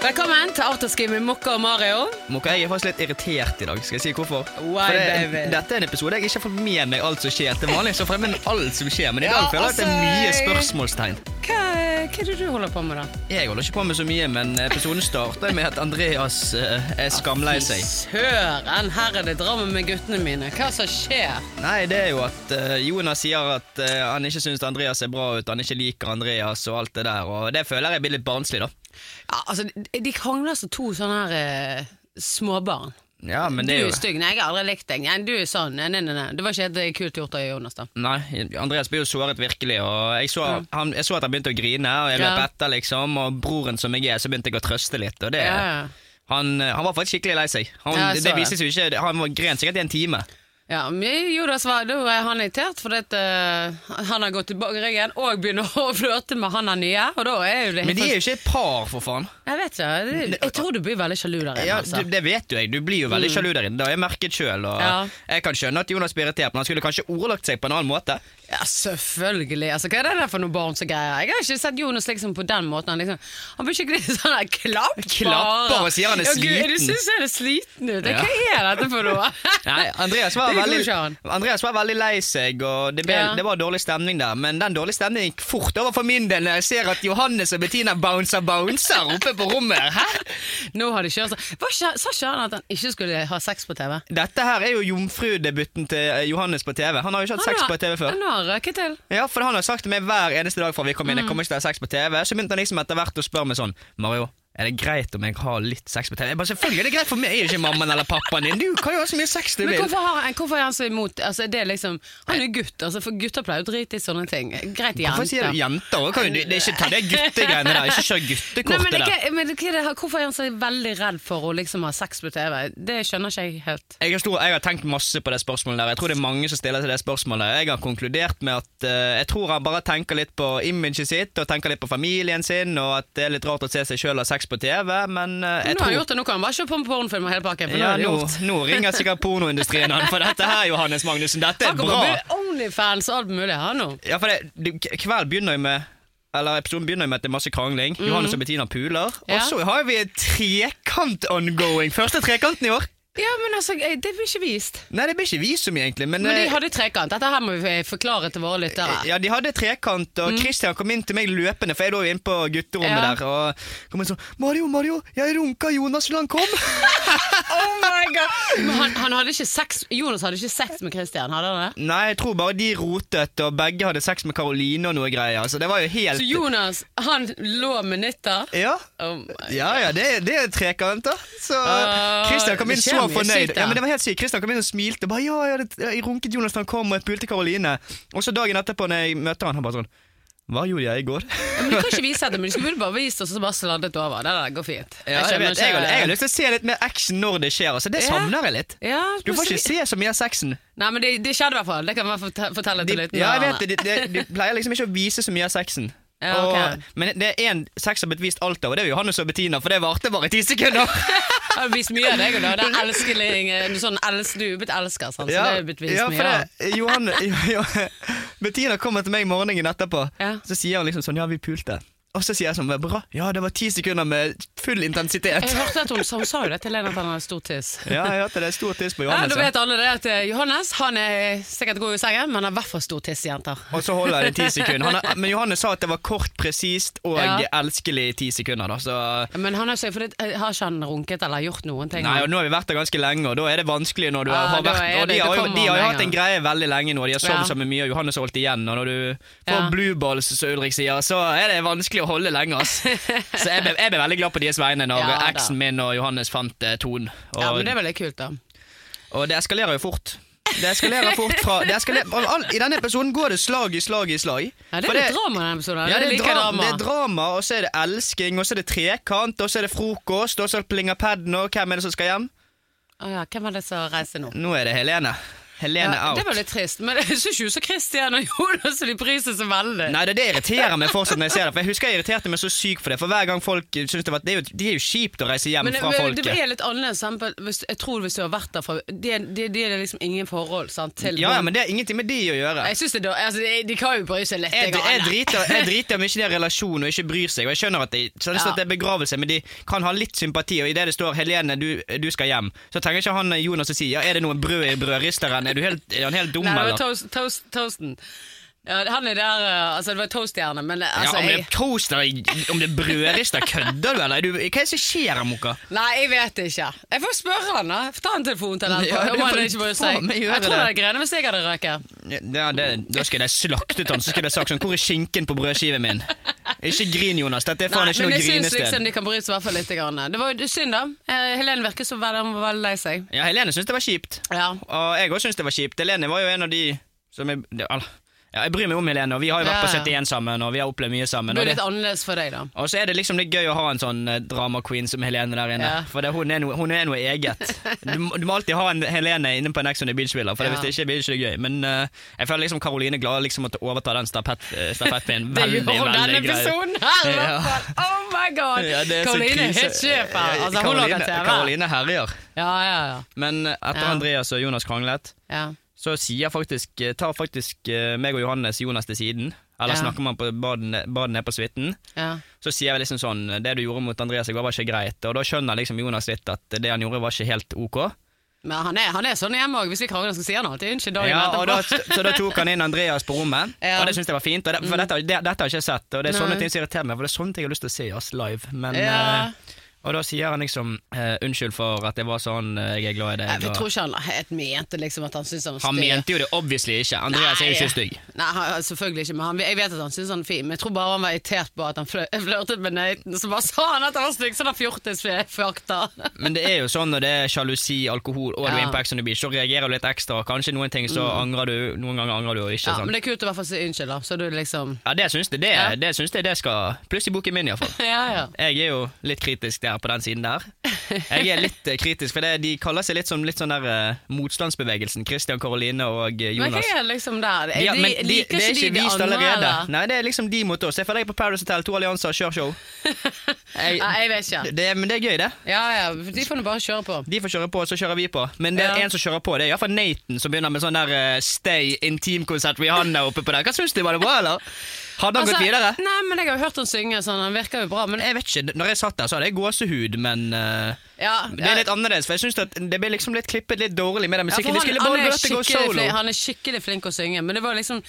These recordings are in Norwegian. Velkommen til Afterski med Mokka og Mario. Mokka, jeg er faktisk litt irritert i dag. Skal jeg si hvorfor? Why, For det, baby? dette er en episode jeg ikke har fått med meg alt som skjer. Til vanlig så får jeg med meg alt som skjer, men i dag Ja, føler jeg at det er altså, mye jeg- spørsmålstegn. Hva, hva er det du holder på med, da? Jeg holder ikke på med så mye, men episoden starter med at Andreas eh, er skamlei Ah, seg. Søren, her er det drama med guttene mine. Hva som skjer? Nei, det er jo at eh, Jonas sier at eh, han ikke syns Andreas ser bra ut, han ikke liker Andreas og alt det der, og det føler jeg blir litt barnslig, da. Ja, altså, de- De krangler som to sånne her eh, småbarn. Ja, men det er Du er jo stygg. Nei, jeg har aldri likt deg. Nei, du er sånn. Nei, nei, nei, nei. Det var ikke helt eh, kult gjort av Jonas, da. Nei, Andreas blir jo såret virkelig, og jeg så, han, jeg så at han begynte å grine, og jeg Ja. løp etter, liksom, og broren som jeg er, så begynte jeg å trøste litt, og det Ja, ja. Han, han var faktisk skikkelig lei seg. Han, Ja, jeg det, så det. vises jo ikke, han var gren sikkert i en time. Ja, men Jonas var, da var han irritert, for at, eh, han har gått tilbake i ryggen og begynner å flørte med han her nye. Og da er jo det Men de er jo ikke et par, for faen. Jeg vet ikke, det- jeg tror du blir veldig sjalu der inne. Ja, altså. Mm. du, det vet jo jeg. Du blir jo veldig sjalu der inne. Det har jeg merket sjøl. Ja. Jeg kan skjønne at Jonas blir irritert, men han skulle kanskje ordlagt seg på en annen måte. Ja, selvfølgelig. Altså, hva er det der for noen barn som greier? Jeg har ikke sett Jonas liksom på den måten. Han, liksom, han blir ikke litt sånn der klapper. Klapper og sier han er Ja, Gud, sliten. Du synes han er sliten ut? Ja. Hva er dette for noe? Nei, Andreas var, Det går veldig, ikke an. Andreas var veldig lei seg, og det, ble, Ja. det var dårlig stemning der. Men den dårlige stemningen gikk fort over for min del når jeg ser at Johannes og Bettina bouncer bouncer oppe på rommet. her. Hæ? Nå har de kjørt seg. Hva skje- Sa ikke han at han ikke skulle ha sex på TV? Dette her er jo jomfrudebuten til eh, Johannes på TV. Han har jo ikke hatt Han sex har- på TV før. Han har røket til. Ja, for han har sagt til meg hver eneste dag fra vi kom Mm. inn. Jeg kommer ikke til å ha sex på TV. Så begynte han liksom etter hvert å spørre meg sånn Mario, er det greit om jeg har litt sex på TV? Jeg bare, Selvfølgelig er det greit for meg, jeg er jo ikke mammaen eller pappaen din. Du kan jo ha så mye sex du Men vil. hvorfor, har, han- hvorfor er han så imot? Altså, det er liksom, han er jo gutt, altså, for gutter pleier jo å drite i sånne ting. Greit, jenter. Hvorfor sier du jenter òg? Det er ikke ta det guttegreiene der. Ikke kjør Nei, men, guttekortet det, er der. ikke- men det, er ikke det, hvorfor er han så veldig redd for å liksom ha sex på TV? Det skjønner ikke jeg helt. Jeg har, stor, jeg har tenkt masse på det spørsmålet der. Jeg tror det er mange som stiller seg det spørsmålet. Jeg har konkludert med at eh, jeg tror han bare tenker litt på imaget sitt og tenker litt på familien sin, og at det er litt rart å se seg sjøl ha sex på TV, men eh, nå har jeg tror han gjort det, nå kan han bare se på pornofilm og hele pakken. For nå Ja, er det nå, gjort. nå ringer sikkert pornoindustrien han for dette her, Johannes Magnussen. Dette er Han kommer bra. til å bli Onlyfans og alt mulig her nå. Ja, for det, det, kveld begynner jo med eller Episoden begynner jo med at det er masse krangling. Johannes og Bettina puler. Mhm. Ja. Og så har vi en trekant ongoing. Første trekanten i år. Ja, men altså, eh, det blir ikke vist. Nei, det blir ikke vi så mye, egentlig. Men, Men de eh, hadde trekant. Dette her må vi eh, forklare til våre lyttere. Ja, de hadde trekant, og Christian kom inn til meg løpende, for jeg lå jo inne på gutterommet Mhm. Ja. der. Og kom inn sånn 'Mario, Mario, jeg runka Jonas da han kom'. Oh my god! Men han, han hadde ikke sex, Jonas hadde ikke sex med Christian, hadde han det? Nei, jeg tror bare de rotet, og begge hadde sex med Karoline og noe greier. Så det var jo helt Så Jonas, han lå med nytter? Ja. Oh my. Ja, ja, det, det er trekant, da. Så Ah, Christian kom inn det skjer så mye fornøyd. sykt, da. Ja, men det var helt sykt. Christian kom inn og smilte. Bare, ja, jeg, hadde, jeg runket Jonas da han kom, og jeg pulte Karoline. Og så dagen etterpå, når jeg møter han, han bare sånn Hva gjorde jeg i går? Ja, Men Du kan ikke vise det, men du skulle bare vist oss og så bare sladdet over. Det der går fint. Ja, jeg, vet, jeg, har, jeg har lyst til å se litt mer action når det skjer. Altså, det Ja. savner jeg litt. ja, Du får ikke se se så mye av sexen. Nei, men det, det skjedde i hvert fall. Det kan man forte- fortelle De, til lytterne. ja, jeg vet det, de, de, de pleier liksom ikke å vise så mye av sexen. Ja, ok. og, men det er én sex som har blitt vist alt av, og det er jo Johannes og Bettina, for det varte bare ti sekunder. Jeg har vist mye av deg, og da. Det er elskelig, eh, sånn els, du er blitt elsker, sant? så Altså, det er jo blitt vist ja, mye for av. det, Johan, jo, Bettina kommer til meg morgenen etterpå, Ja. så sier hun liksom sånn, ja, vi pulte. Og så sier jeg sånn, "Hva bra, ja, det var ti sekunder med full intensitet. Jeg hørte at hun, sa- hun sa jo det til Lena at han hadde stor tiss. Ja, jeg hørte det er stor tiss på Ja, Johannes. Da ja. vet alle det at eh, Johannes han er sikkert god i sengen, men har i hvert fall stor tiss, jenter. Og så holder jeg det ti sekunder. Han er, men Johannes sa at det var kort, presist og Ja. elskelig i ti sekunder, da, så... Men han har ikke, for det, eh, har ikke han runket eller gjort noen ting? Nei, og nå har vi vært der ganske lenge, og da er det vanskelig når du Ja, har da vært er Og det- de det har jo kommer de har jo med en hatt en greie veldig lenge nå, de har sovet Ja. sammen mye, og Johannes har holdt igjen, og når du får Ja. blue balls, som Ulrik sier, så er det vanskelig å holde lenge, ass. Så jeg ble, jeg ble veldig glad på deres vegne når Ja, da. eksen min og Johannes fant eh, tonen. Og, Ja, men det er veldig kult, da. og det eskalerer jo fort. Det eskalerer fort fra det eskalerer, all, all, I denne episoden går det slag i slag i slag. Ja, det For er litt drama i denne episoden. Ja, det er, Jeg liker drama, drama. det er drama, og så er det elsking, og så er det trekant, og så er det frokost, og så plinger paden, og hvem er det som skal hjem? Å ja, hvem var det som reiste nå? Nå er det Helene. Helene Ja, det out. var litt trist, men jeg syns ikke så Christian og Jonas de bryr seg så veldig. Nei, det, er det irriterer meg fortsatt når jeg ser det. For jeg husker jeg irriterte meg så sykt for det. For hver gang folk synes det var Det er jo, de er jo kjipt å reise hjem men fra men folket. det blir litt annerledes. sant? For Hvis, jeg tror hvis du har vært der fra Det, det, det er liksom ingen forhold sant, til Ja, ja, hvem- men det har ingenting med de å gjøre. Jeg synes det, er da- altså, de, de kan jo bry seg litt. Jeg, jeg jeg, aner. driter, jeg driter om ikke det er relasjon og ikke bryr seg. Og jeg skjønner at det, så det, står Ja. at det er begravelse, men de kan ha litt sympati. Og idet det står 'Helene, du, du skal hjem', så trenger ikke han eh, Jonas å si 'ja, er det noe brød i brødristeren'? Er, du helt, er han helt dum, Nei, det var eller? toast, toast, Toasten. Ja, han er der eh, Altså, det var Toast-hjerne, men eh, altså ja, om det jeg, er toaster, i- om det er brødrister, kødder du, eller? Er du, hva er det som skjer, Moka? Nei, jeg vet ikke. Jeg får spørre han, da. Ta en telefon til han. Ja, det om han får- ikke bryr faen, seg. men gjør Jeg tror det. det er greiene hvis jeg hadde røket. Ja, det, da skulle jeg slaktet han, så skulle jeg sagt sånn 'hvor er skinken på brødskiven min'? Ikke grin, Jonas. Dette er Nei, faen ikke men noe jeg syns grinested. liksom de kan bry seg i hvert fall litt. Grann. Det var jo synd, da. Eh, Helene virker så veldig, hun var veldig lei seg. Ja, Helene syntes det var kjipt. Ja. Og jeg òg syns det var kjipt. Helene var jo en av de som jeg det- al- ja, Jeg bryr meg om Helene, og vi har jo vært på Ja, ja. 71 sammen, og vi har opplevd mye sammen. Det Og, er litt det, annerledes for deg, da. og så er det liksom litt gøy å ha en sånn eh, drama queen som Helene der inne. Ja. For det, hun, er noe, hun er noe eget. Du, må- du må alltid ha en Helene inne på en Ex on the Beach-villa, for Ja. hvis det ikke blir det ikke gøy. Men eh, jeg føler liksom Karoline Glade liksom måtte overta den stafett, eh, stafettpinnen. Det Veldig, gjør hun denne veldig grei. episoden her! i Ja. hvert fall. Oh my god! Ja, det er så Karoline er krise. helt sjef her. Altså, hun lager Karoline, TV. Karoline herjer. Ja, ja, ja. Men etter Ja. Andreas og Jonas kranglet ja. så sier faktisk, tar faktisk eh, meg og Johannes Jonas til siden. Eller Ja. snakker man på baden, baden er på suiten. ja. Så sier jeg liksom sånn Det du gjorde mot Andreas i går, var ikke greit. Og da skjønner liksom Jonas litt at det han gjorde, var ikke helt ok. Men han er, han er sånn hjemme òg. Hvis vi krangler, så sier han alltid unnskyld dagen Ja, og da, etterpå. så da tok han inn Andreas på rommet, Ja. Mm. og det syns jeg var fint. Og det, for dette, det, dette har jeg ikke sett, og det er Nei. sånne ting som irriterer meg. For det er sånne ting jeg har lyst til å se i oss live. Men, Ja. eh, og da sier han liksom eh, 'unnskyld for at jeg var sånn, eh, jeg er glad i deg'. Nei, for jeg og- tror ikke han helt mente liksom at han syntes han var han stygg. mente jo det obviously ikke. Andreas er jo ikke stygg. Nei, han- selvfølgelig ikke, men han, jeg vet at han syns han er fin. Men jeg tror bare han var irritert på at han flø- flørtet med Nathan, så bare sa han at han var stygg, så han fjortisfrakter. Men det er jo sånn når det er sjalusi, alkohol og du er Ja. Mm. inne på Ex on the Beach, så reagerer du litt ekstra. og Kanskje noen ting så angrer du, noen ganger angrer du og ikke. Ja, sant? men det er kult å i hvert fall si unnskyld, da. Så du liksom Ja, det syns jeg det, Ja. det, syns jeg det skal Pluss i boken min, iallfall. Ja, ja. Jeg er jo litt kritisk der på den siden der. Jeg er litt eh, kritisk, for det, de kaller seg litt som litt sånn der eh, motstandsbevegelsen. Christian, Karoline og eh, Men hva Jonas. er liksom der? Ja, de, men de- liker det er ikke de de vist andre, allerede. eller? Nei, det er liksom de mot oss. Jeg føler jeg er på Paradise Hotel, to allianser, kjør show. Jeg, Nei, jeg vet ikke. det, men det er gøy, det. Ja, ja, de får nå bare kjøre på. De får kjøre på, så kjører vi på. Men det er Ja. en som kjører på. Det er iallfall Nathan som begynner med sånn der eh, Stay intimkonsert Rihanna oppe på der. Hva syns du, var det bra, eller? Hadde han Altså, gått videre? Nei, men jeg har jo hørt han synge sånn, han virker jo bra, men Jeg vet ikke. Når jeg satt der, så hadde jeg gåsehud, men eh, ja, det er litt annerledes. For jeg synes at det ble liksom litt klippet litt dårlig med den Ja, for musikken. De han, skulle han, bare er latt det gå skikkelig solo. flink, han er skikkelig flink å synge, men det var liksom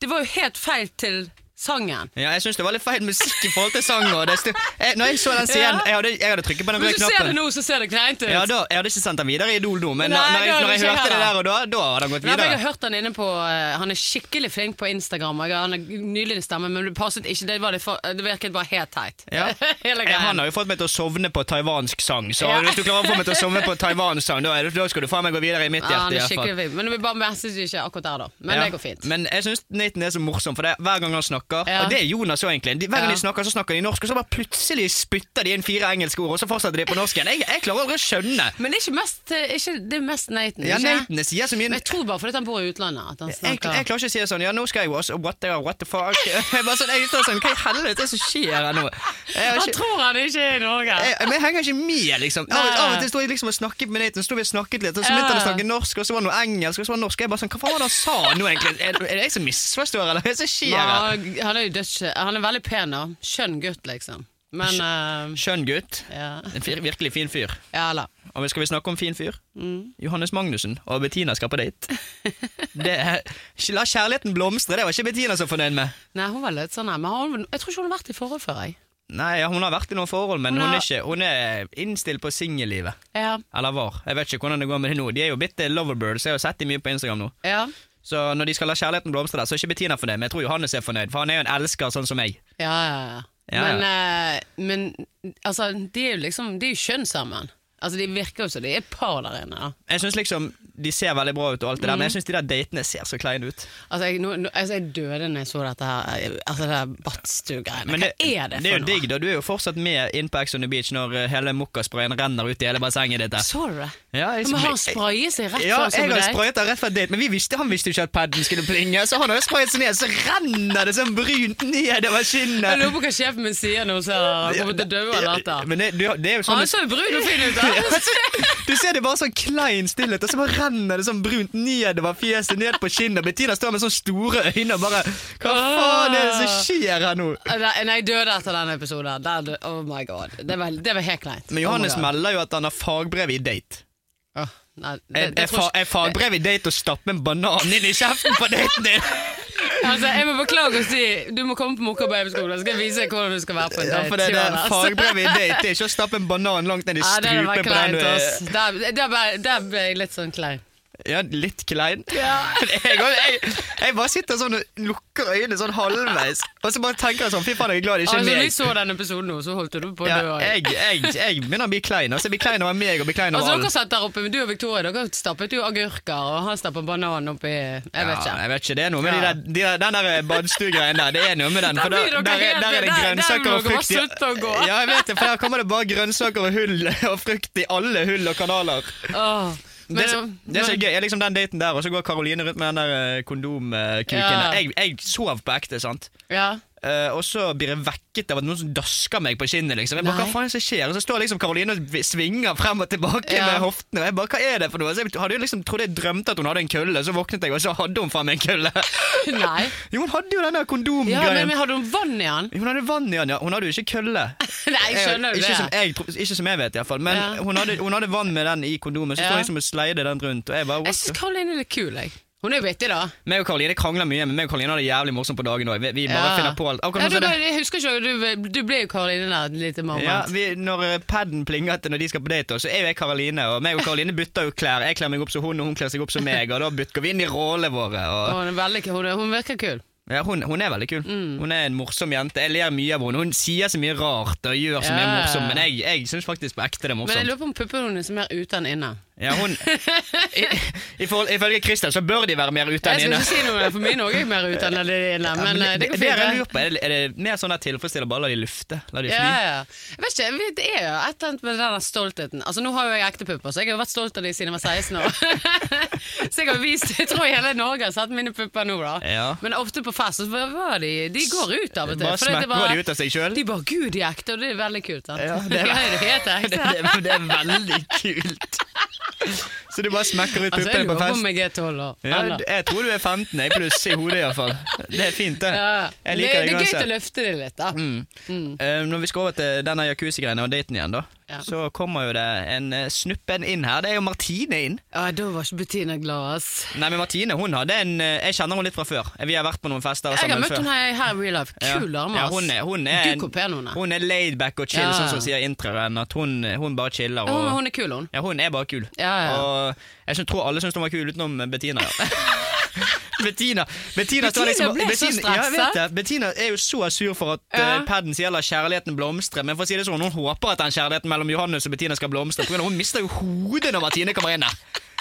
Det var jo helt feil til sangen. Ja, jeg syns det var litt feil musikk i forhold til sangen. og Det stu- jeg, når jeg så den scenen, Ja. jeg hadde, jeg hadde trykket på den røde Hvis du ser det knappen. nå, så ser det kleint ut. Ja, da, jeg hadde ikke sendt den videre i Idol nå, men Nei, når, når det jeg, hadde når jeg ikke jeg hørte det der heller. og da, da hadde han gått Nei, men jeg videre. har hørt han inne på eh, Han er skikkelig flink på Instagram. og jeg- Han er nydelig stemme, men det passet ikke. Det, var det, for, det virket bare helt teit. Ja. Hele Ja, greien. han har jo fått meg til å sovne på taiwansk sang, så Ja. hvis du klarer å få meg til å sovne på taiwansk sang, da, er det- da skal du faen meg gå videre i mitt Ja, hjerte. han i er hvert fall. skikkelig flink. Men vi bare messes jo ikke akkurat der, da. Men Ja. det går fint. Men jeg syns Nathan er så morsom, for det, er- hver gang han snakker Ja. Og det er Jonas òg, egentlig. De- Hver gang Ja. de snakker, så snakker de norsk, og så bare plutselig spytter de inn fire engelske ord, og så fortsetter de på norsk igjen. Jeg, jeg klarer aldri å skjønne. Men det er ikke mest, eh, ikke, det er mest Nathan. Ja, ikke? Nathan sier så mye Men jeg tror bare fordi at han bor i utlandet. At han jeg, snakker jeg klarer ikke å si det sånn Ja, nå skal jeg jo også What the, what the fuck? Jeg bare sånn, jeg står sånn Hva i helvete er det som skjer her nå? Jeg har Han ikke, tror han ikke er i Norge. jeg, men jeg henger ikke med, liksom. Av, Nei. av og til står jeg liksom og snakker med Nathan, så står vi og snakket litt, og så Ja. begynte han å snakke norsk, og så var det noe engelsk, og så var det norsk. Jeg bare sånn Hva faen var det han sa nå, egentlig? Er, er det jeg som misforstår, eller hva er det som skjer? her? han, han er jo døds... Han er veldig pen da. Skjønn gutt, liksom. Men eh, Skjønn gutt. ja. En fyr, virkelig fin fyr. eh, ja, eller Og vi skal vi snakke om fin fyr? Mm. Johannes Magnussen og Bettina skal på date. Det er, la kjærligheten blomstre, det var ikke Bettina så fornøyd med. Nei, hun var litt sånn her, men hun, jeg tror ikke hun har vært i forhold før, jeg. Nei, ja, Hun har vært i noen forhold, men Hun hun, har- er, ikke, hun er innstilt på singellivet. Ja. Eller var. Jeg vet ikke hvordan det går med det nå. De er jo bitte loverbirds. Jeg har sett dem mye på Instagram nå. Ja. Så når de skal la kjærligheten blomstre, der, så er ikke Bettina fornøyd. Men jeg tror Johannes er fornøyd, for han er jo en elsker sånn som meg. Ja, ja, ja. Ja, Men, eh, men altså, de er jo liksom De er jo kjønn sammen. Altså, De virker jo som de er et par der inne. da. Jeg synes liksom de ser veldig bra ut, og alt det der, Mm. men jeg syns de der datene ser så kleine ut. Altså, jeg, nå, nå, altså, jeg døde når jeg så dette her Altså, det der badstue-greiene. Men Hva er det det for er jo noe? digg, da. Du er jo fortsatt med inn på Ex on the Beach når eh, hele mokkasprayen renner ut i hele bassenget ditt. der. Så du det? Ja, jeg, Men han sprayet seg rett ja, før jeg har deg. sprayet den rett fra date, men vi visste, han visste jo ikke at paden skulle plinge, så han har jo sprayet seg ned, så renner det sånn brunt nedover Jeg skinnet. lurer på hva sjefen min sier når hun ser han kommer til å dø av latter. Men det, du, det er jo sånn Han så jo brun og fin ut, Ja, da. så- Du ser det bare sånn klein stillhet, og så bare renner det sånn brunt nedover fjeset, ned på kinnet. Bettina står med sånne store øyne og bare Hva faen er det som skjer her nå? Nei, nei, jeg døde etter den episoden. Der dø- oh my god. Det var, det var helt kleint. Men Johannes oh my God. melder jo at han har fagbrev i date. Åh, nei, det, det, Er, er, tror fa, jeg er fagbrev i date å stappe en banan inn i kjeften på daten din? ikke- altså, jeg må beklage å si du må komme på Mokka babyskole, så skal jeg vise deg hvordan du skal være på en Ja, date. for det, det er Johannes. fagbrev i date det er ikke å stappe en banan langt ned i altså. Ja, det strupen var på den eh, kleint, du ass. er Der, der, ble, der ble jeg litt sånn klein. Ja, litt klein. Jeg, jeg, jeg bare sitter sånn og lukker øynene sånn halvveis, og så bare tenker jeg sånn Fy faen, jeg er glad det ikke Altså, er når meg. jeg så den episoden nå, så holdt du på å Ja, dø. jeg, jeg, jeg begynner å bli klein. Altså, jeg blir klein over meg og blir klein over Altså, dere alle. satt der oppe, men du og Victoria dere stappet jo agurker, og han stappet banan oppi Jeg vet Ja, ikke. jeg vet ikke, det er noe med de Ja. der, de der, den der badstuegreien der. Det er noe med den. For Der der, blir dere der, er- helt- der er det der- der grønnsaker må dere og bare frukt i slutte å gå. Ja, jeg vet det, for der kommer det bare grønnsaker og hull og frukt i alle hull og kanaler. Åh, men, Det som det som er men- gøy, er liksom den daten der, og så går Karoline rundt med den der eh, kondomkuken. Ja. Jeg, jeg sov på ekte, sant. Ja. Eh, og så blir jeg vekket av at noen som dasker meg på kinnet. liksom Jeg bare, Nei. hva faen er det som skjer? Og så står liksom Karoline og vi- svinger frem og tilbake Ja. med hoftene. Og jeg bare, hva er det for noe? Så jeg hadde jo liksom trodd jeg drømte at hun hadde en kølle, så våknet jeg, og så hadde hun faen meg en kølle. Nei. Jo, hun hadde jo den der Ja, men, kondomgreien. men hadde hun vann i den? hun hadde vann i den, ja. Hun hadde jo ikke kølle. Nei, skjønner du ikke, Som det? jeg, tro- ikke som jeg vet, iallfall. Men Ja. hun, hadde, hun hadde vann med den i kondomet, Ja. så sto hun liksom og sleide den rundt. Og jeg bare, Jeg what the syns Karoline er litt kul, jeg. Hun er jo vittig, da. Meg og Karoline krangler mye, men meg og Karoline har det jævlig morsomt på dagen òg. Vi, vi bare Ja. finner på alt. Akkurat Ja, nå du, så er det- jeg husker ikke, du, du ble jo Karoline der et lite moment. Ja, vi, når eh, padden plinger til når de skal på date, også, så er jo jeg Karoline. Og meg og Karoline bytter jo klær. Jeg kler meg opp som hun, og hun kler seg opp som meg. Og da bytter vi inn i rollene våre. Og hun, Og, er veldig, hun, er- hun virker kul. ja, hun, hun er veldig kul. Mm. Hun er en morsom jente. Jeg ler mye av henne. Hun sier så mye rart og gjør så mye Ja. morsomt, men jeg, jeg syns faktisk på ekte det er Men jeg morsomt. lurer på om puppene hennes er mer ute enn inne. Ja, hun, i, i forhold, ifølge Christian så bør de være mer ute Jeg skal enn inne. ikke si noe, for mine òg er mer ute enn de inne. Ja, Men eh, det det, går det er, jeg fint. lurer på, er, det, er det mer sånn at tilfredsstiller bare la de lufte? La de det. fly? Ja, ja. Jeg vet ikke, jeg- det er jo et eller annet med den der stoltheten. Altså, Nå har jo jeg ekte pupper, så jeg har jo vært stolt av dem siden jeg var 16 år. så jeg har vist, jeg tror hele Norge har sett mine pupper nå, da. Ja. Men ofte på fest så var de De går ut av og til. Bare fordi det smekker de ut av seg sjøl? De bare 'Gud, de er ekte', og det er veldig kult. Sant? Ja, det det er er- helt Det, ekte. det, det er veldig kult. Så du bare smekker ut Altså, puppene jeg på lurer på fest? om jeg er 12 år. Ja, Eller- jeg tror du er 15 jeg pluss i hodet iallfall. Det er fint, det. Ja, Jeg det, liker det det er gøy å uansett. løfte det litt, da. Eh, Når vi skal over til denne jacuzzi-greiene og daten igjen, da, Ja. så kommer jo det en eh, snuppen inn her. Det er jo Martine inn. Ja, da var ikke Bettina glad, ass. Nei, men Martine hun hadde en eh, Jeg kjenner henne litt fra før. Vi har vært på noen fester Jeg har sammen møtt før. henne her her i real life. Kul ja. dame, ja, ass. hun er, hun er, Gud, hvor pen hun er. Hun er laid back og chill, Ja. sånn som sier introen. At hun, hun bare chiller. Ja, Og, hun, hun er kul, hun. Ja, hun er bare kul. Ja, ja. Og jeg syns- tror alle syns hun var kul utenom Bettina. Ja. Bettina Bettina, står Bettina liksom, ble så Bettina, ja, jeg vet stresset. det. Bettina er jo så sur for at Ja. ja. paden sier la kjærligheten blomstre. Men for å si det sånn, hun håper at den kjærligheten mellom Johannes og Bettina skal blomstre. For hun mister jo hodet når Martine kommer inn der.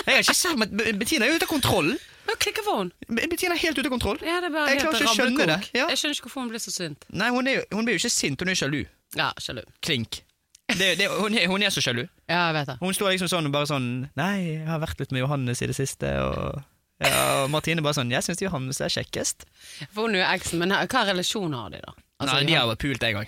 Jeg har ikke sett, men Be- Bettina er jo ute av kontroll. Hva klikker for hun? Be- Bettina er helt ute av kontroll. Ja, det er bare jeg klarer helt ikke å skjønne det. rablekok. Ja. Jeg skjønner ikke hvorfor hun blir så sint. Nei, hun, er, jo- hun blir jo ikke sint, hun er sjalu. Ja, sjalu. Klink. Det, det, hun, er, hun er så sjalu. Ja, jeg vet det. Hun står liksom sånn og bare sånn Nei, jeg har vært litt med Johannes i det siste, og ja, og Martine bare sånn Jeg syns Johannes er kjekkest. For hun er jo eksen, men hva relasjon har de, da? Nei, de har pult en gang.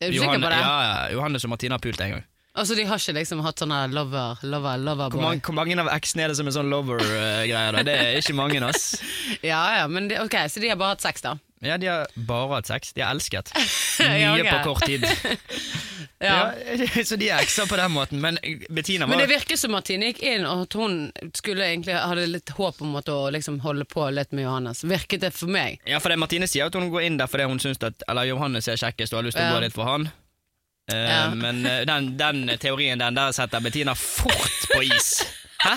Er du sikker på det? ja, ja, Johannes og Martine har pult en gang. Altså, de har ikke liksom hatt sånne lover, lover, lover boy? Hvor mange, hvor mange av eksene er det som er sånn lover-greier, da? Det er ikke mange, ass. Ja, ja, men det, ok, så de har bare hatt sex, da. Ja, de har bare hatt sex. De har elsket. Ja, Mye ok. på kort tid. Ja. Ja. så de er ekser på den måten. Men Bettina Men var det virker som Martine gikk inn, og at hun skulle egentlig hadde litt håp om at å liksom holde på litt med Johannes. Virket det for meg? Ja, for det Martine sier at hun går inn der fordi hun syns at Eller Johannes er kjekkest og har lyst til Ja. å gå litt for han. Eh, Ja. Men eh, den, den teorien den der setter Bettina fort på is. Da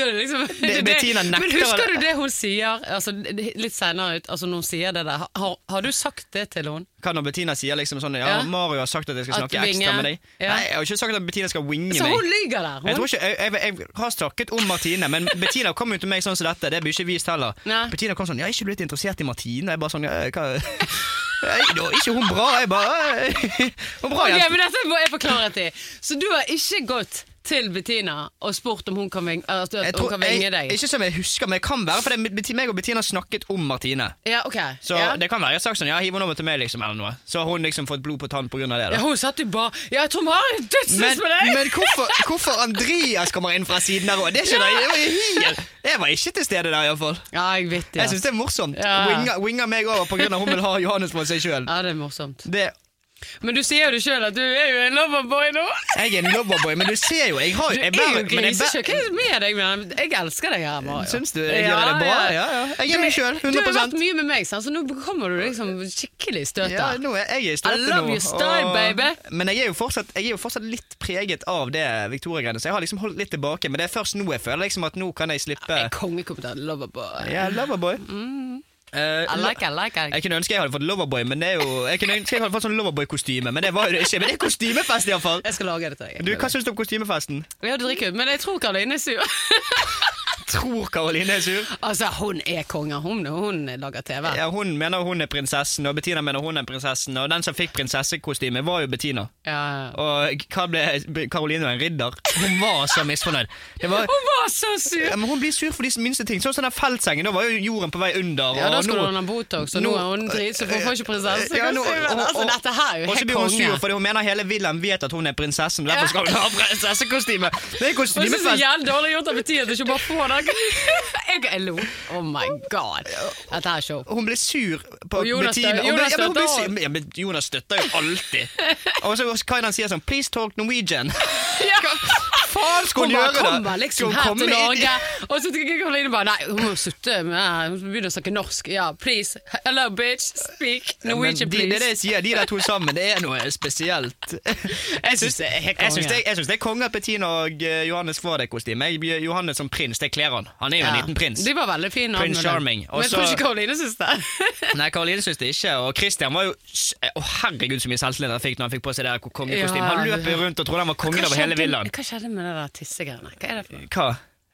er det liksom, Det- Bettina nekter Men husker å- du det hun sier altså, det- litt senere ut? Altså, når hun sier det der, har, har du sagt det til henne? Hva når Bettina sier liksom sånn Ja, Ja. Mario har sagt at jeg skal At snakke vinge. ekstra med deg. Ja. Nei, jeg har ikke sagt at Bettina skal winge Så meg. hun lyver der! Jeg, tror Hun. ikke, jeg, jeg, jeg har snakket om Martine, men Bettina kom jo til meg sånn som dette. Det blir ikke vist heller. Nei. Bettina kom sånn 'Jeg er ikke blitt interessert i Martine.' Jeg bare sånn «Ja, hva? Nei, da er ikke hun bra? Jeg bare «Ja, Hun er bra, Ok, jente. men dette må jeg få klarhet i. Så du har ikke gått til Bettina og spurt om hun kan vinge, at Jeg hun tror, kan vinge jeg, deg? ikke som jeg husker, men det kan være fordi Beti- meg og Bettina snakket om Martine. Ja, ok. Så ja. det kan være jeg har sagt sånn 'Ja, hiv henne over til meg', liksom, eller noe. Så har hun liksom fått blod på tann pga. det. ja, da hun satt jo bare Ja, jeg tror Marit Men, dødsens med deg! men hvorfor, hvorfor Andreas kommer inn fra siden her òg? Det skjønner jeg. Det var jo helt- Jeg var ikke til stede der, iallfall. ja, jeg vet det. Jeg syns det er morsomt. Ja. Winger, winger meg over pga. hun vil ha Johannes på seg sjøl. Ja, det er morsomt. Jeg Men du sier jo det sjøl at du er jo en loverboy nå. er en loverboy, men du ser jo Jeg har Du er bærer- jo men jeg grisekjøkk. Hva bærer- er det med deg? men Jeg elsker deg her, Mario. Syns du jeg gjør det bra? Ja, ja. Jeg er meg sjøl. Du har vært 100 mye med meg, sant? så nå kommer du liksom skikkelig i støtet. ja, nå er jeg i støtet I love nå, your style, og- baby. Men jeg er, jo fortsatt, jeg er jo fortsatt litt preget av det Victoria-greiene, så jeg har liksom holdt litt tilbake. Men det er først nå jeg føler liksom at nå kan jeg Jeg slippe er kongekompetent loverboy. Ja, Loverboy. Eh, Mm. I like, I like, I like. Jeg kunne ønske jeg hadde fått Loverboy, men det er jo Jeg kunne ønske jeg hadde fått sånn Loverboy-kostyme, men det var jo det ikke. Men det er kostymefest, iallfall. Jeg skal lage det til deg. Du, hva syns du om kostymefesten? Ja, du drikker, men jeg tror Karoline er sur. Tror Karoline er sur? altså, hun er konge, hun, hun lager TV. Ja, hun mener hun er prinsessen, og Bettina mener hun er prinsessen, og den som fikk prinsessekostyme, var jo Bettina. Ja. Og hva ble Karoline en ridder? Hun var så misfornøyd. Det var Hun var så sur! ja, men Hun blir sur for de minste ting. Sånn som den feltsengen. Da var jo jorden på vei under. Ja, da og skulle nå- hun ha Botox, og nå nå- er hun drit, så hun får ikke prinsesse. Ja, nå- og- altså, og- dette her er jo Og så helt blir hun sur konge. fordi hun mener hele Wilhelm vet at hun er prinsessen. Derfor skal hun ha prinsessekostyme. Det Og jeg synes er det er kostymefest. jævlig dårlig gjort av Bettina til ikke bare få den. Jeg, jeg lo. Oh my god. Dette her er show. Hun blir sur på Og Jonas Bettina. stø- Hun blir- Jonas ja, men hun blir støtter sur- ja, men Jonas støtter jo alltid. Og så hva er det han sier sånn Please talk Norwegian. Faen, skal hun Hun bare gjøre det? kommer liksom Skal hun her komme til inn- Norge, og så tenker jeg Karoline bare Nei, hun må slutte med Hun begynner å snakke norsk. Ja, please. Hello, bitch. Speak Ja, men Norwegian, de, det er det please. jeg sier, de der to sammen, det er noe spesielt. Jeg syns det er helt Jeg syns konge. det, jeg syns det er konge at Bettina og eh, Johannes får det kostymet. Jeg- Johannes som prins, det kler han. Han er jo en liten prins. De var veldig fine. navnene. Prince Charming. Men jeg Også- tror ikke Karoline syns det. Nei, Karoline syns det ikke. Og Christian var jo Å, herregud, så mye selvtillit han fikk når han fikk på seg det der kongekostymet. Han Ja. løp jo rundt og trodde han var kongen over hele villaen. Hva skjedde med det der tissegreiene? Hva er det for noe? Hva?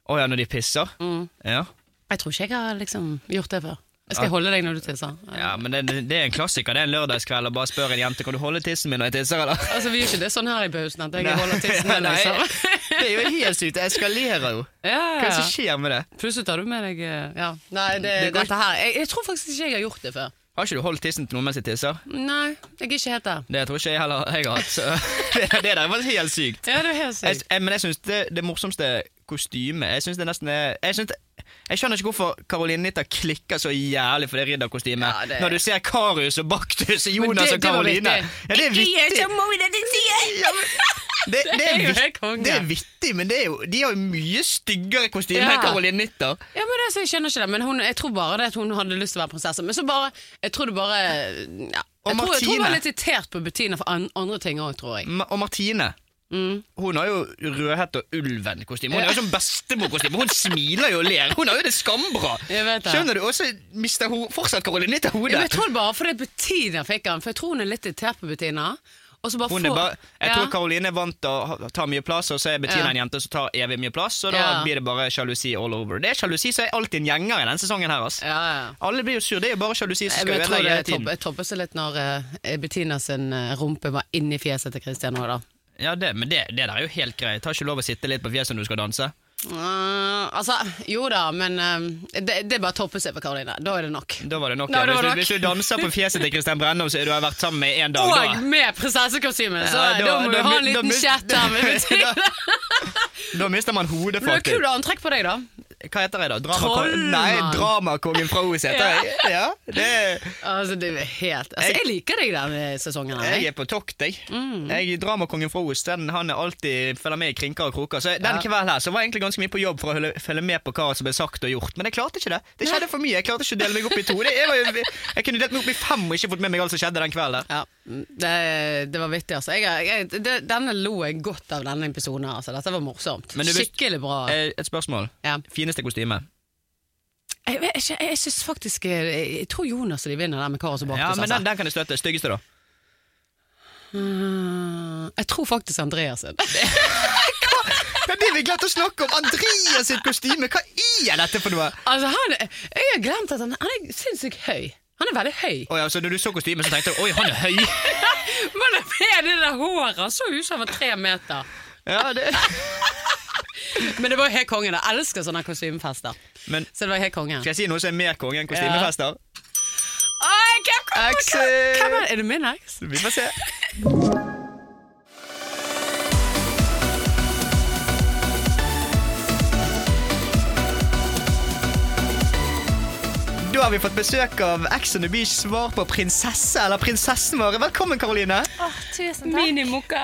Å ja, når de pisser? Mm. Ja. Jeg tror ikke jeg har liksom gjort det før. Jeg skal holde deg når du tisser. ja, men det, det er en klassiker. Det er en lørdagskveld og bare spør en jente kan du holde tissen min når jeg tisser, eller? Altså, vi gjør ikke det sånn her i pausen at jeg Nei. holder tissen med Nei, deg. så. Det er jo helt sykt. Det eskalerer jo. Ja, Hva er det som skjer med det? Plutselig tar du med deg eh, Ja. Nei, det, Det går dette her jeg, jeg tror faktisk ikke jeg har gjort det før. Har ikke du holdt tissen til noen mens de tisser? Nei, jeg er ikke helt der. Det tror ikke jeg heller jeg har hatt. Så det, det der var helt sykt. Ja, det er helt Jeg, sykt. jeg, men jeg syns det, det morsomste kostymet Jeg synes det nesten er jeg, synes det, jeg skjønner ikke hvorfor Karoline Nitta klikker så jævlig for det ridderkostymet. Ja, det- Når du ser Karius og Baktus og Men Jonas det- og det var Karoline. vittig. Ja, det er vittig. Ja, men- det, det, Det er er jo helt vittig, konge. det er vittig, men det er jo, de har jo mye styggere kostyme Ja. enn Karoline Nitta. Ja, men det, så jeg skjønner ikke det. Men hun, jeg tror bare det at hun hadde lyst til å være prinsesse. Men så bare Jeg tror det bare ja. Og jeg, tror, jeg tror hun Martine. var litt irritert på Bettina for an, andre ting òg, tror jeg. Ma- Og Martine. Hun har jo Rødhette og Ulven-kostyme. Hun har jo sånn bestemorkostyme. Hun smiler jo og ler. Hun har jo det skambra. Jeg vet det. Skjønner du? Og så mister hun fortsatt Karoline Nitta Ja, hodet. men jeg tror det bare fordi Bettina fikk den, for jeg tror hun er litt irritert på Bettina. Og så bare Hun er får- bare, jeg ja. tror Karoline er vant til å ha- ta mye plass, og så er Bettina Ja. en jente som tar evig mye plass, og da Ja. blir det bare sjalusi all over. Det er sjalusi som er alltid en gjenger i denne sesongen her, ass. ja, ja. Alle blir jo sur, det er jo bare Jeg, sjalusi som skal jeg tror ødelegge det hele tiden. topp- toppet seg litt når eh, Bettina sin eh, rumpe var inni fjeset til Christian òg, da. Ja, det, men det, det der er jo helt greit. Har ikke lov å sitte litt på fjeset når du skal danse. Eh, altså, jo da, men eh, det, det bare topper seg for Karoline. Da er det nok. Da var det nok. Da ja. var det hvis, nok. du, hvis du danser på fjeset til Kristian Brennum, så har du har vært sammen med en dag, da. Og med prinsessekostyme! Så Ja, da, må du ha en da liten mis- chat der med Bettina. da, da mister man Men det hodet, var faktisk. kult antrekk på deg, da. Hva heter jeg, da? Trollmann. Dramakongen Nei, Dramakongen fra Os heter jeg. Ja, det, Altså, det er helt Altså, Jeg- jeg liker deg denne sesongen. her, jeg er på tokt, jeg. Mm. jeg Dramakongen fra Os den, han er alltid følger med i krinker og kroker. Så Den Ja. kvelden her så var jeg egentlig ganske mye på jobb for å følge- følge med på hva som ble sagt og gjort, men jeg klarte ikke det. Det skjedde for mye. Jeg klarte ikke å dele meg opp i to. Det, jeg, var, jo- jeg kunne delt meg opp i fem og ikke fått med meg alt som skjedde den kvelden. Ja. Det, det var vittig, altså. Jeg, jeg, det, denne lo jeg godt av denne episoden. her, Altså. Dette var morsomt. Men du visste- Skikkelig bra. Eh, Et spørsmål. Ja. Fineste kostyme? Jeg, vet ikke, jeg synes faktisk Jeg, jeg tror Jonas og de vinner den med Karas og Baktus. Ja, men altså. den, den kan jeg støtte. Styggeste, da? Mm, jeg tror faktisk Andreas sin. Ja, det vi glemte å snakke om! Andreas sitt kostyme! Hva er dette for noe? altså, han, jeg har glemt at han, han er sinnssykt høy. Han er veldig høy. Oh, ja, så når du så kostymet, så tenkte du oi, han er høy! Men det med det der håret Han så ut som han var tre meter. Ja, det... Men det var jo helt kongen. Jeg elsker sånne kostymefester. Men Så det var helt kongen. skal jeg si noe som er mer konge enn kostymefester? Oi, hvem, hvem, hvem, Exit. hvem er, er det min eks? Vi får se. Da har vi fått besøk av Ex on the Beach svar på prinsesse eller prinsessen vår. Velkommen, Karoline. Åh, tusen takk. Minimokka.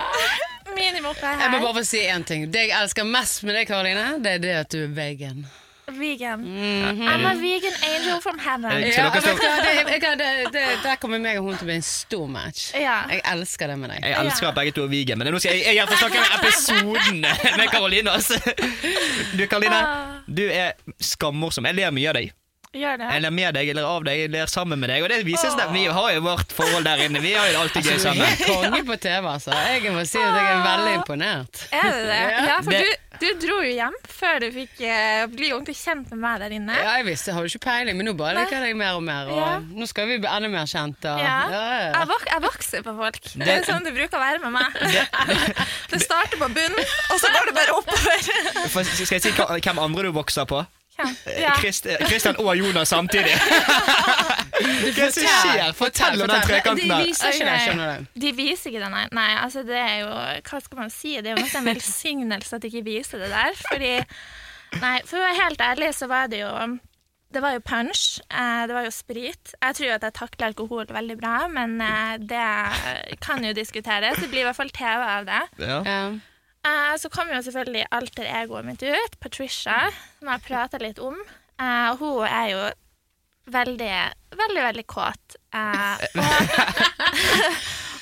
Minimoppa er Jeg må her. bare få si én ting. Det jeg elsker mest med deg, Karoline, det er det at du er vegan. Vegan. I'm a vegan angel from heaven. Eh, Så dere står- vet du hva, det, jeg, jeg- det, det, der kommer meg og hun til å bli en stor match. Ja. Jeg elsker det med deg. Jeg elsker at begge to er vegan, men nå skal jeg, jeg, jeg få snakke om episoden med Karoline. Altså. Du, Karoline, du er skammorsom. Jeg ler mye av deg. Gjør det. Jeg ler med deg, jeg ler av deg, jeg ler sammen med deg. Og det viser seg at vi har jo vårt forhold der inne. Vi har jo alltid Du er gøy sammen. helt konge på TV, altså. Jeg må si at jeg er veldig imponert. Er det det? Ja, for Det- du, du dro jo hjem før du fikk eh, bli ordentlig kjent med meg der inne. Ja, jeg visste, jeg har jo ikke peiling, men nå bare liker jeg deg mer og mer. Og Ja. Nå skal vi bli enda mer kjent. Og, Ja. ja, ja, ja. Jeg, vok jeg vokser på folk. Det er sånn det bruker å være med meg. Det starter på bunnen, og så går det bare oppover. For, skal jeg si hva- hvem andre du vokser på? Ja. Krist- eh, Kristian og Jonas samtidig. Hva er det som skjer? Fortell om den trekanten De her. viser ikke det, skjønner du. De viser ikke det, nei. nei altså det er jo, hva skal man si? Det er jo nesten en velsignelse at de ikke viser det der. Fordi, nei, for å være helt ærlig, så var det jo Det var jo punch, eh, det var jo sprit. Jeg tror jo at jeg takler alkohol veldig bra, men eh, det kan jo diskuteres. Det blir i hvert fall TV av det. Ja. Ja. Eh, Så kom jo selvfølgelig alter egoet mitt ut, Patricia, som jeg prata litt om. Eh, og Hun er jo veldig, veldig, veldig kåt. Eh, og,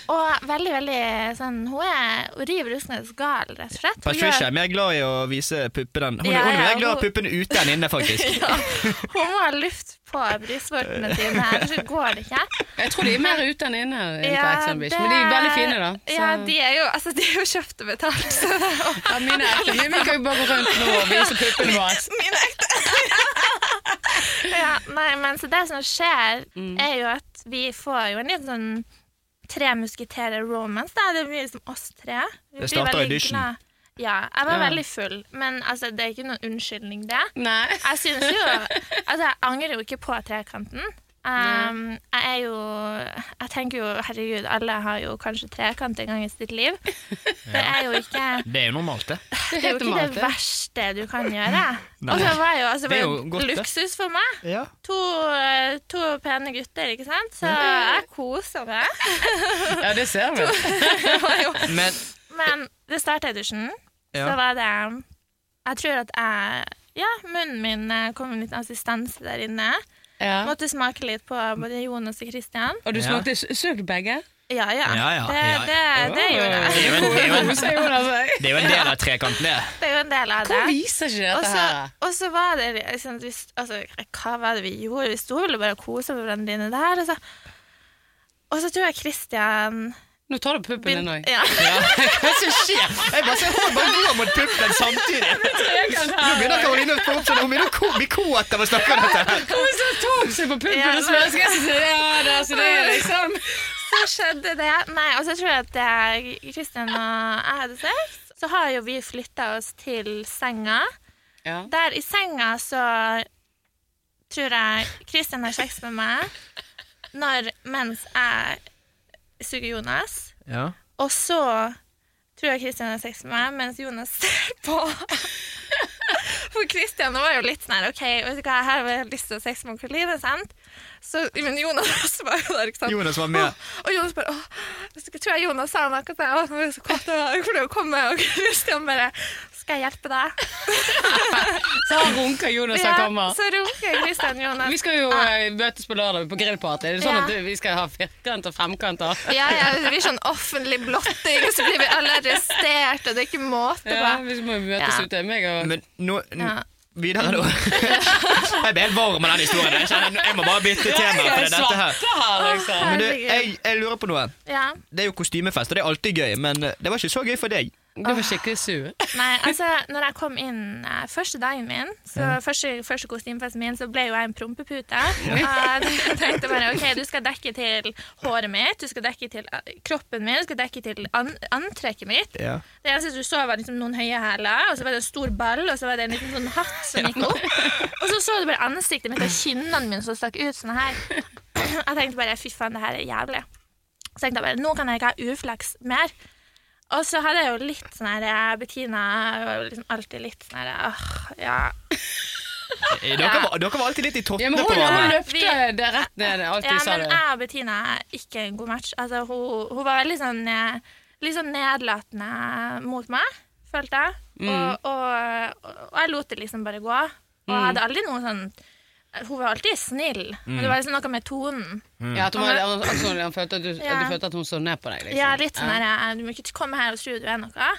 og veldig, veldig sånn Hun er Hun river russende gal, rett og slett. Hun Patricia er gjør- mer glad i å vise puppene. Hun, hun Ja, er ja, mer glad i hun- puppene ute enn inne, faktisk. ja, hun må ha luft på brystvortene sine, ellers går det ikke. Jeg tror de er mer ute enn inne, enn på Ex on the Beach, men de er veldig fine, da. Så. Ja, de er jo, altså, de er jo kjøpt og betalt, så det er jo- Ja, mine er ekte. Vi kan jo bare gå rundt nå og vise puppene våre. Mine ekte. ja, nei, men så det som skjer, er jo at vi får jo en liten sånn tre musketerer romance. Da. Det blir liksom oss tre. Vi Det blir starter veldig audition. glad. Ja, jeg var Ja. veldig full, men altså, det er ikke noen unnskyldning, det. Nei. Jeg synes jo Altså, jeg angrer jo ikke på trekanten. Um, jeg er jo Jeg tenker jo, herregud, alle har jo kanskje trekant en gang i sitt liv. Det er jo ikke Det er jo normalt, det. det er jo helt ikke normalt, det det. verste du kan gjøre. Og så var jo, altså, det Det er var jo jo godt, det. luksus for meg. Ja. To, eh, to pene gutter, ikke sant? Så jeg koser meg. Ja, det ser vi. Det var jo- Men Men det starta i dusjen. Så ja. var det um, Jeg tror at jeg Ja, munnen min eh, kom med en liten assistanse der inne. Ja. Måtte smake litt på både Jonas og Christian. Og du Ja. smakte søk begge? Ja ja. Ja, ja, det, ja, ja. Det, det gjorde Det er jeg. jo en, det er jo en, Sier altså? Jonas jeg. det er jo en del av trekanten, det. Det er jo en del av det. Hvorfor viser ikke Og dette så- her? Og så var det liksom, vi, altså, Hva var det vi gjorde? Vi sto vel og bare kosa med hverandre inne der. Og så, og så tror jeg Christian Nå tar du puppen din òg. ja. Hva som skjer? Jeg bare ser hånden bare gå mot puppen samtidig. Nå begynner Karoline å få opp sånn, hun begynner å ko- bli kåt av å snakke om dette. her. Hun så tok seg på puppen Ja, og spør skal jeg si ja, det, er så det er liksom Så skjedde det. Nei, og så tror jeg at eh, Christian og jeg hadde sex. Så har jo vi flytta oss til senga. ja. Der i senga så tror jeg Christian har sex med meg når, mens jeg suger Jonas. Ja. Og så tror jeg Kristian har sex med meg, mens Jonas ser på. For Kristian var jo litt sånn her, OK, vet du hva, her har jeg lyst til å ha sex med Karoline, sant? Så, men Jonas også var jo der, ikke sant? Jonas var med. Og Jonas bare åh, jeg tror jeg Jonas sa noe til meg, «Åh, nå er jeg så kåt, og jeg kommer til å komme, og Kristian bare skal jeg hjelpe deg? Så han runker Jonas han kommer. så runker Christian Jonas. Vi skal jo eh, møtes på lørdag på grillparty. Er det sånn Ja. at du- vi skal ha firkant og femkant? og- Ja, ja, det blir sånn offentlig blotting, og så blir vi alle arrestert, og det er ikke måte på. Ja, vi må jo møtes Ja. ute. Meg og Men nå n- Ja. Videre, da. jeg ble helt varm av den historien. Jeg, kjenner, jeg må bare bytte Jeg tema. er For det, er dette her. svarte her, liksom. Men du, jeg, jeg lurer på noe. Ja. Det er jo kostymefest, og det er alltid gøy, men eh, det var ikke så gøy for deg. Du var skikkelig sur. Nei, altså, når jeg kom inn eh, første dagen min, så første, første kostymefesten min, så ble jo jeg en prompepute. Og jeg tenkte bare OK, du skal dekke til håret mitt, du skal dekke til eh, kroppen min, du skal dekke til an antrekket mitt. Det eneste du så, var liksom noen høye hæler, og så var det en stor ball, og så var det en liten sånn hatt som gikk opp. Og så så du bare ansiktet mitt og kinnene mine som stakk ut sånn her. Jeg tenkte bare fy faen, det her er jævlig. Så tenkte jeg bare nå kan jeg ikke ha uflaks mer. Og så hadde jeg jo litt sånn her eh, Bettina var jo liksom alltid litt sånn her åh, ja. Eh, Dere, var, dere var alltid litt i Ja, tottene men på hun, hun hverandre. løpte det rett ned, alt ja, du sa. men det. jeg og Bettina er ikke en god match. Altså, hun, hun var veldig sånn eh, Litt sånn nedlatende mot meg, følte jeg. Mm. Og, og, og jeg lot det liksom bare gå. Og Mm. jeg hadde aldri noe sånn Hun var alltid snill, men det var liksom noe med tonen. Ja, at hun, var- han, han, så- han følte at du, at Ja. du følte at hun så ned på deg. Liksom. Ja, litt sånn Ja. her eh, Du må ikke komme her og tro du er noe.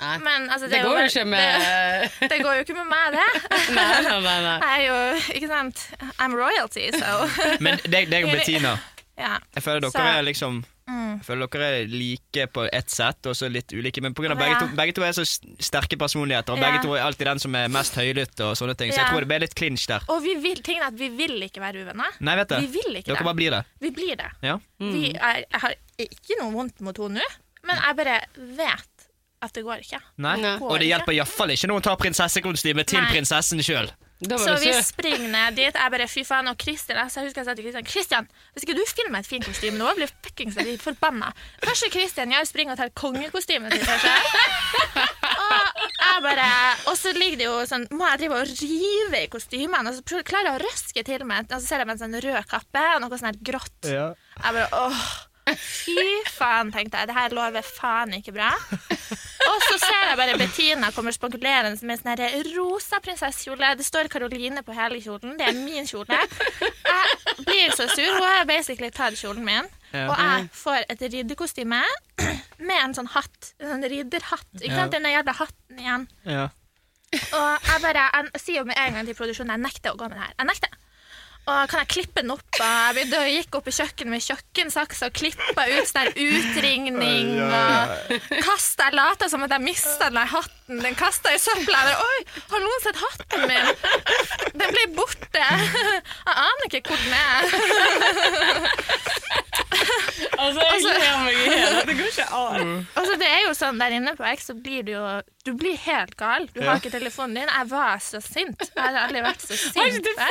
Nei. Men altså, det, det, er går jo bare- ikke med Det, det går jo ikke med meg, det. Nei, nei, nei. nei. Jeg er jo Ikke sant? I'm royalty, so Men deg, deg og Bettina, ja. jeg føler dere Så- Mm. er liksom jeg føler dere er like på ett sett, og så litt ulike. Men pga. Begge, Ja. to- begge to er så s- sterke personligheter, og begge Ja. to er alltid den som er mest høylytt. og sånne ting Så jeg Ja. tror det ble litt clinch der. Og vi vil, tingen er at vi vil ikke være uvenner. Nei, vet du. Vi vil ikke dere det. bare blir det. Vi blir det. Ja. Vi er, jeg har ikke noe vondt mot henne nå, men jeg bare vet at det går ikke. Nei. Nei. Og det hjelper iallfall ikke når hun tar prinsessekostyme til Nei. prinsessen sjøl. Da var Så du vi sur. springer ned dit. Jeg bare, fy faen, og Kristin altså, Jeg husker jeg sa til Kristian Kristian, hvis ikke du finner meg et fint kostyme nå, blir jeg fuckings litt forbanna. Første Kristian gjør, springer og tar kongekostymet sitt for seg. Og jeg bare Og så ligger det jo sånn Må jeg drive og rive i kostymene? Og så prøver- klarer jeg å røske til meg, og så ser jeg meg en sånn rød kappe og noe sånn her grått. Jeg bare åh, fy faen, tenkte jeg. Det her lover faen ikke bra. Og så ser jeg bare Bettina kommer spankulerende med sånn her rosa prinsessekjole. Det står Karoline på hele kjolen. Det er min kjole. Jeg blir så sur. Hun har basically tatt kjolen min. Og jeg får et ridderkostyme med en sånn hatt. En sånn ridderhatt. Ikke sant? Den jævla hatten igjen. Og jeg bare jeg sier jo med en gang til produksjonen jeg nekter å gå med det her. Jeg nekter. Og kan jeg klippe den opp? Og jeg begynte å gikk opp i kjøkkenet med kjøkkensaks og klippa ut sånn her utringning. Og kasta Jeg lata som at jeg mista den her hatten. Den kasta i søpla. Jeg bare, Oi, har noen sett hatten min? Den ble borte. Jeg aner ikke hvor den er. Altså, jeg Altså- gleder meg i hjel. Det går ikke an. Og så det er jo sånn der inne på X, så blir du jo Du blir helt gal. Du har ikke telefonen din. Jeg var så sint. Jeg har aldri vært så sint.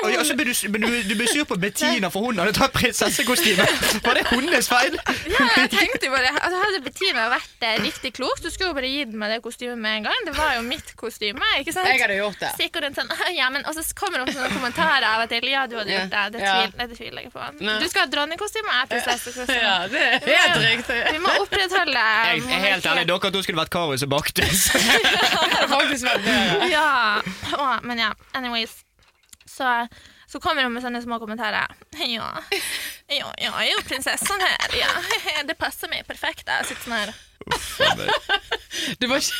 Og ja, så ble du, men du, du ble sur på Bettina, for hun hadde tatt prinsessekostyme. Var det hennes feil? Ja, jeg tenkte jo bare altså, Hadde Bettina vært eh, riktig klok, så skulle hun bare gitt meg det kostymet med en gang. Det var jo mitt kostyme, ikke sant? Jeg hadde gjort det. Stikker rundt sånn, ja, men, og så kommer det opp sånne kommentarer av og til. Ja, du hadde gjort det. Det Ja. tviler, det tviler jeg ikke på. Du skal ha dronningkostyme, jeg har prinsessekostyme. Ja, det er helt riktig. Vi må opprettholde Jeg er helt ærlig, dere to skulle vært Karius og Baktus. Det er faktisk vært bedre. Ja. Å, men ja, anyways. Så, så kommer hun med sånne små kommentarer. Ja, ja, ja, jeg er jo prinsessen her. Ja, det passer meg perfekt. Jeg sitter sånn her. Du var ikke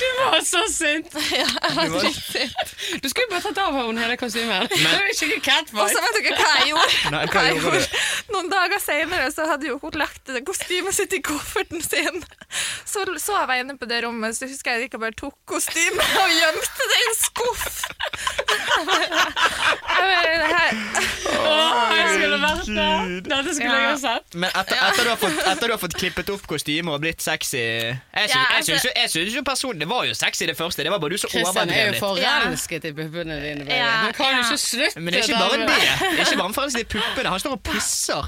Du var så sint! Du skulle bare tatt av henne hele kostymet. Det er jo skikkelig Og så catfight. vet dere hva jeg gjorde? Nei, hva Hva jeg gjorde du? gjorde? Noen dager senere så hadde jo hun lagt det kostymet sitt i kofferten sin. Så sov jeg inne på det rommet, så husker jeg at jeg bare tok kostymet og gjemte det i en skuff. Jeg bare, det her... Åh, jeg skulle vært der. Dette skulle jeg ha sett. Men etter, etter, du har fått, etter du har fått klippet opp kostymer og blitt sexy Jeg Ja, altså- syns jo personen Det var jo sexy, det første. Det var bare du som Kristian er overdrev jo litt. forelsket i puppene dine. baby. Ja, Han kan jo ja. ikke slutte. Men det er ikke bare det. Det er ikke bare for de puppene. Han står og pisser.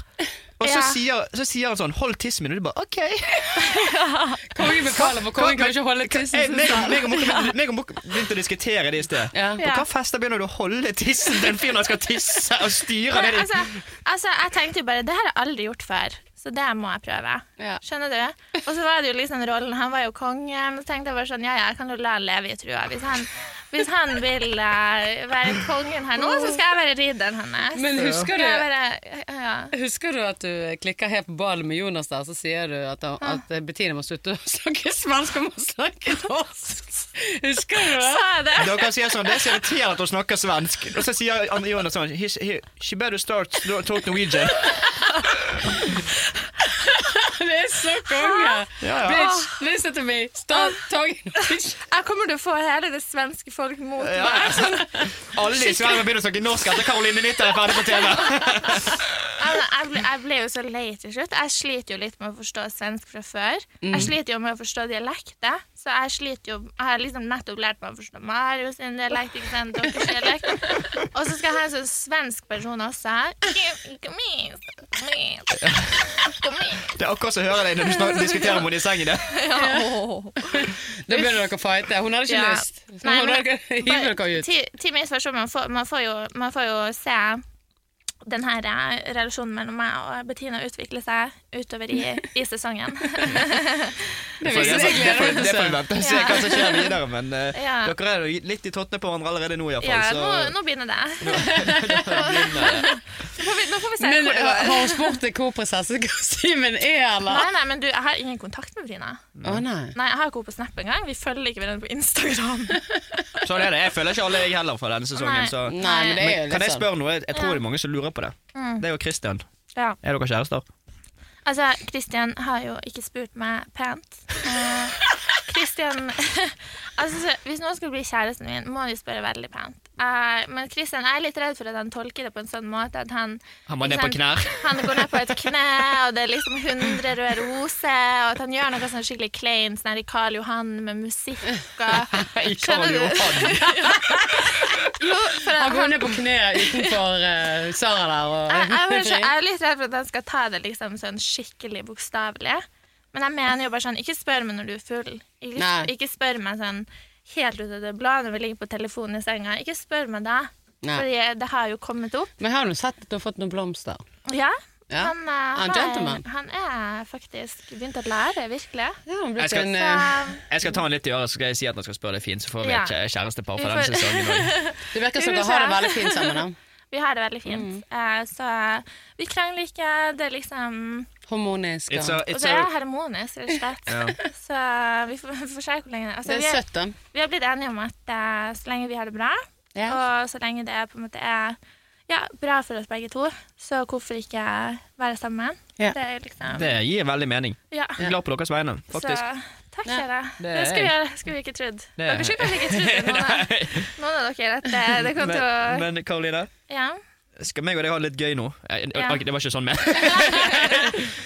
Og så, Ja. sier, så sier han sånn 'hold tissen min', og du bare 'OK'. Kongen betaler, for kongen kan jo ikke holde Eh, tissen sin meg og- selv. meg og Mokke- meg og Mokke begynte å diskutere det i sted. Ja. På hva fester begynner du å holde tissen til en fyr når han skal tisse og styre Nei, det? altså, altså, jeg tenkte jo bare, det her har jeg aldri gjort før. Så det må jeg prøve. Ja. Skjønner du? Og så var det jo liksom rollen, han var jo kongen. Så tenkte jeg bare sånn, ja ja, jeg kan jo la han leve i trua. Hvis han, hvis han vil eh, være kongen her nå, så skal jeg være ridderen hans. Men husker Skal jeg du, være, ja. husker du at du klikker helt på ballen med Jonas der, så sier du at, han- at Bettina må slutte å snakke svensk, hun må snakke norsk. Husker du det? Sa jeg det? Dere sier sånn, Det er så irriterende at hun snakker svensk. Og så sier Anne Jonas sånn he, he, She better start to talk Norwegian. Det er så konge! Ja, ja. Bitch, listen to me. Stop talking. Jeg kommer til å få hele det svenske folk mot meg. Alle i Sverige begynner å snakke norsk etter Caroline Nytter er ferdig på TV. Altså, jeg, ble, jeg ble jo så lei til slutt. Jeg sliter jo litt med å forstå svensk fra før. Mm. Jeg sliter jo med å forstå dialekter. Så jeg sliter jo Jeg har liksom nettopp lært meg å forstå Marius sin dialekt, ikke sant, deres dialekt. Og så skal jeg ha en sånn svensk person også. Kom hit, kom hit, kom hit. Det er akkurat som å høre deg når du snak- diskuterer med henne i sengen. det. Ja. Da begynner dere å fighte. Hun hadde ikke Ja. lyst. Hun Nei, men- hadde hiver dere ut. Ti- ti minutes versjon, man får, man, får jo, man får jo se den her eh, relasjonen mellom meg og Bettina utvikle seg utover i, i sesongen. Det Så viser det seg altså. det får gleder meg til det får vi å se. vente og se hva som skjer videre. Men eh, Ja. dere er jo litt i tottene på hverandre allerede nå, Ja, nå, iallfall. nå begynner det. nå, får vi, nå får vi se Men hvor det har går. hun spurt deg hvor prinsessekostymen er, eller? Nei, nei, men du, jeg har ingen kontakt med Brina. Å nei. Nei, Jeg har ikke henne på Snap engang. Vi følger ikke hverandre på Instagram. så, sånn er det. Jeg føler ikke alle jeg heller fra denne Nei. sesongen. Så. Nei, men det er jo Men, kan litt jeg sånn. spørre noe? Jeg tror det er mange som lurer på det. Mm. Det er jo Christian. Ja. Er dere kjærester? Altså, Kristian har jo ikke spurt meg pent. Kristian Altså, så hvis noen skulle bli kjæresten min, må han jo spørre veldig pent. Eh, men Kristian, jeg er litt redd for at han tolker det på en sånn måte at han Han må ikke ned på sant, knær. Han går ned på et kne, og det er liksom 100 røde roser, og at han gjør noe sånn skikkelig kleint, sånn her i Karl Johan med musikk og sånn. I Karl Skjønner du? Johan. Jo, for Han han, går ned på kne utenfor eh, Sara der og jeg, jeg, var så, jeg er litt redd for at han skal ta det liksom sånn skikkelig bokstavelig. Men jeg mener jo bare sånn, ikke spør meg når du er full. Ikke, Nei. ikke spør meg sånn helt ut av det blå når vi ligger på telefonen i senga. Ikke spør meg da, Nei. for det har jo kommet opp. Men har du sett at du har fått noen blomster? Ja, Ja. Han, eh, er en har- gentleman. han er faktisk begynt å lære, virkelig. Ja, han Jeg blitt skal- en Så, eh, Jeg skal ta han litt i øret, så skal jeg si at han skal spørre deg fint, så får vi Ja. et kjæ- kjærestepar Vi for denne får- sesongen. også. Det virker som Vi dere får har se. det veldig fint sammen. da. vi har det veldig fint. Mm. Eh, så eh, vi krangler ikke. Det er liksom Harmonisk. It's a, og- Og it's det er a, harmonisk, rett og slett. Så eh, vi får, vi får se hvor lenge det altså, Det er vi, er, søtt, da. vi har blitt enige om at eh, så lenge vi har det bra, Ja. og så lenge det på en måte er ja, bra for oss begge to, så hvorfor ikke være sammen? Ja. Det er liksom det gir veldig mening. Ja. Jeg er glad på deres vegne, Så faktisk. takk, kjære. det Det, er skulle, vi, skulle vi ikke trodd. Det er- Dere skulle kanskje ikke trodd det, noen av, noen av dere, at det, det kom til å Men, men Karoline, Ja. skal meg og deg ha det litt gøy nå? Jeg, jeg, Ja. ok, Det var ikke sånn med.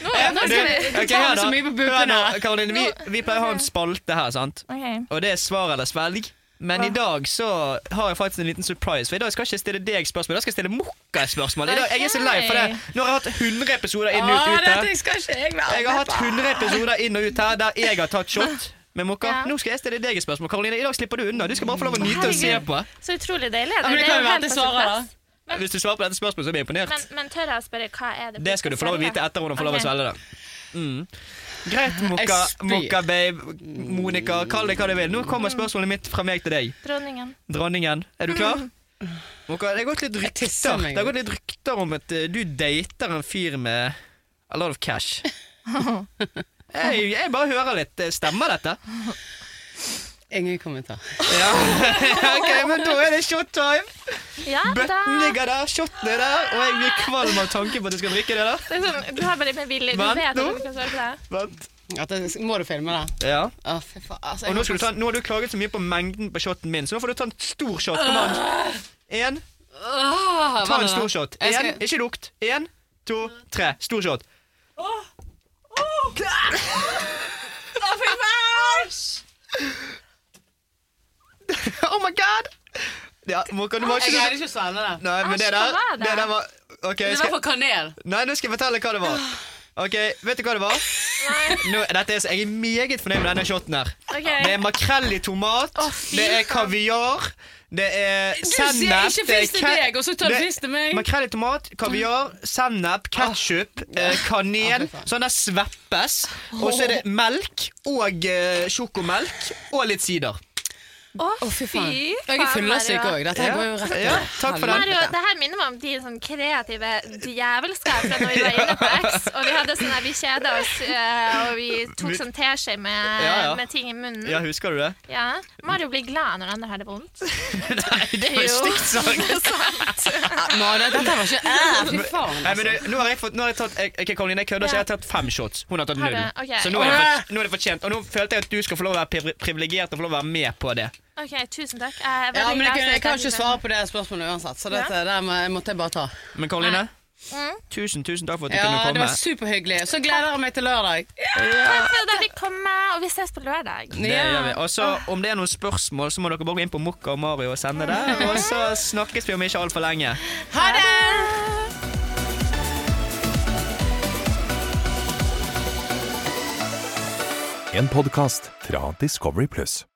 Nå, nå skal vi Ok, tar her det så da. mye på puppene. Hør nå, Karoline, vi, vi pleier å ha en spalte her, sant? OK. Og det er svar eller svelg. Men i dag så har jeg faktisk en liten surprise. For i dag skal jeg ikke stille deg spørsmål, da skal jeg stille Mokka et spørsmål. I dag, jeg er så lei for det. Nå har jeg hatt 100 episoder inn og Å, ut ute. dette skal ikke jeg være Jeg har hatt 100 episoder inn og ut her der jeg har tatt shot med Mokka. Ja. Nå skal jeg stille deg et spørsmål. Karoline, i dag slipper du unna. Du skal bare få lov å nyte og se Herregud. på. Så utrolig deilig. men det er kan jo jo være at helt jeg på sin svarer, da. plass. Hvis du svarer på dette spørsmålet, så blir jeg imponert. Men, men tør jeg å spørre, hva er det Det skal du få lov å vite etter hun har fått lov å Ok. svelge det. Mm. Greit, Mokka, Jeg spyr. Mokka babe, Monica, kall det hva du vil. Nå kommer spørsmålet mitt fra meg til deg. Dronningen. Dronningen, er du klar? Mokka, det har gått litt tisser rykter meg Det har gått litt rykter om at eh, du dater en fyr med a lot of cash. Jeg, jeg bare hører litt. Eh, Stemmer dette? Ingen kommentar. Ja. ok, men da er det shot time. Ja, da. Bøtten ligger der, shoten er der, og jeg blir kvalm av tanken på at jeg skal drikke det der. Det er sånn, du har bare med vilje. Du Vent vet at nå. du kan svare på det. Vent. At det- må du filme det? Ja. Å, fy faen. Altså, Og jeg nå, skal du ta, nå har du klaget så mye på mengden på shoten min, så nå får du ta en stor shot. Kom an. En, Åh, ta vannet en da. stor shot. Jeg skal- En, ikke lukt. En, to, tre. Stor shot. Oh my god! Ja, må, kan du bare Jeg ikke... greide ikke å svelge det. Nei, men det Æsj, der, hva var det? det der var... Ok, Det jeg var skal... for kanel. Nei, nå skal jeg fortelle hva det var. Ok, vet du hva det var? Nei. Nå, dette er, så- jeg er meget fornøyd med denne shoten her. Ok. Det er makrell i tomat, Å, fy det er kaviar, det er Du sier sennep ikke det er fisk til ke- deg, og så tar du det- fisk til meg. Makrell i tomat, kaviar, sennep, ketsjup, kanel, Å, fy faen. sånn der sveppes. Og så er det melk og eh, sjokomelk og litt sider. Å, Å, fy faen. Jeg er faen, fyllesyk Mario. òg. Dette her Ja. går jo rett Ja, takk for den. Mario, det her minner meg om de sånn kreative djevelskap fra når vi var inne på X. Og vi hadde sånn der, vi kjeda oss, eh, og vi tok sånn teskje med, Ja, ja. med ting i munnen. Ja, husker du det? Ja. Mario blir glad når andre har det vondt. Nei, det er jo Jo. stygt sagt. Mario, dette var ikke Æ, Fy faen. altså. Nei, men du, nå har jeg fått, nå har jeg tatt, jeg, ok, Karoline, jeg kødder ikke, Ja. jeg har tatt fem shots. Hun har tatt Har null. du? Ok. Så nå er, Ah. det for, nå er det fortjent. Og nå følte jeg at du skal få lov å være pri- privilegert og få lov å være med på det. OK, tusen takk. Jeg Ja, er veldig men jeg, kan- jeg glad for at kan fikk ikke den. svare på det spørsmålet uansett, så dette, der må, måtte jeg bare ta. Men Karoline, Mm. tusen, tusen takk for at du kunne Ja, det komme. var superhyggelig. Så gleder jeg meg til lørdag. Takk for at jeg fikk komme, og vi ses på lørdag. Det Ja. gjør vi. Og så Om det er noen spørsmål, så må dere bare gå inn på Mokka og Mario og sende det. Og så snakkes vi om ikke altfor lenge. Ha det! En podkast fra Discovery Pluss.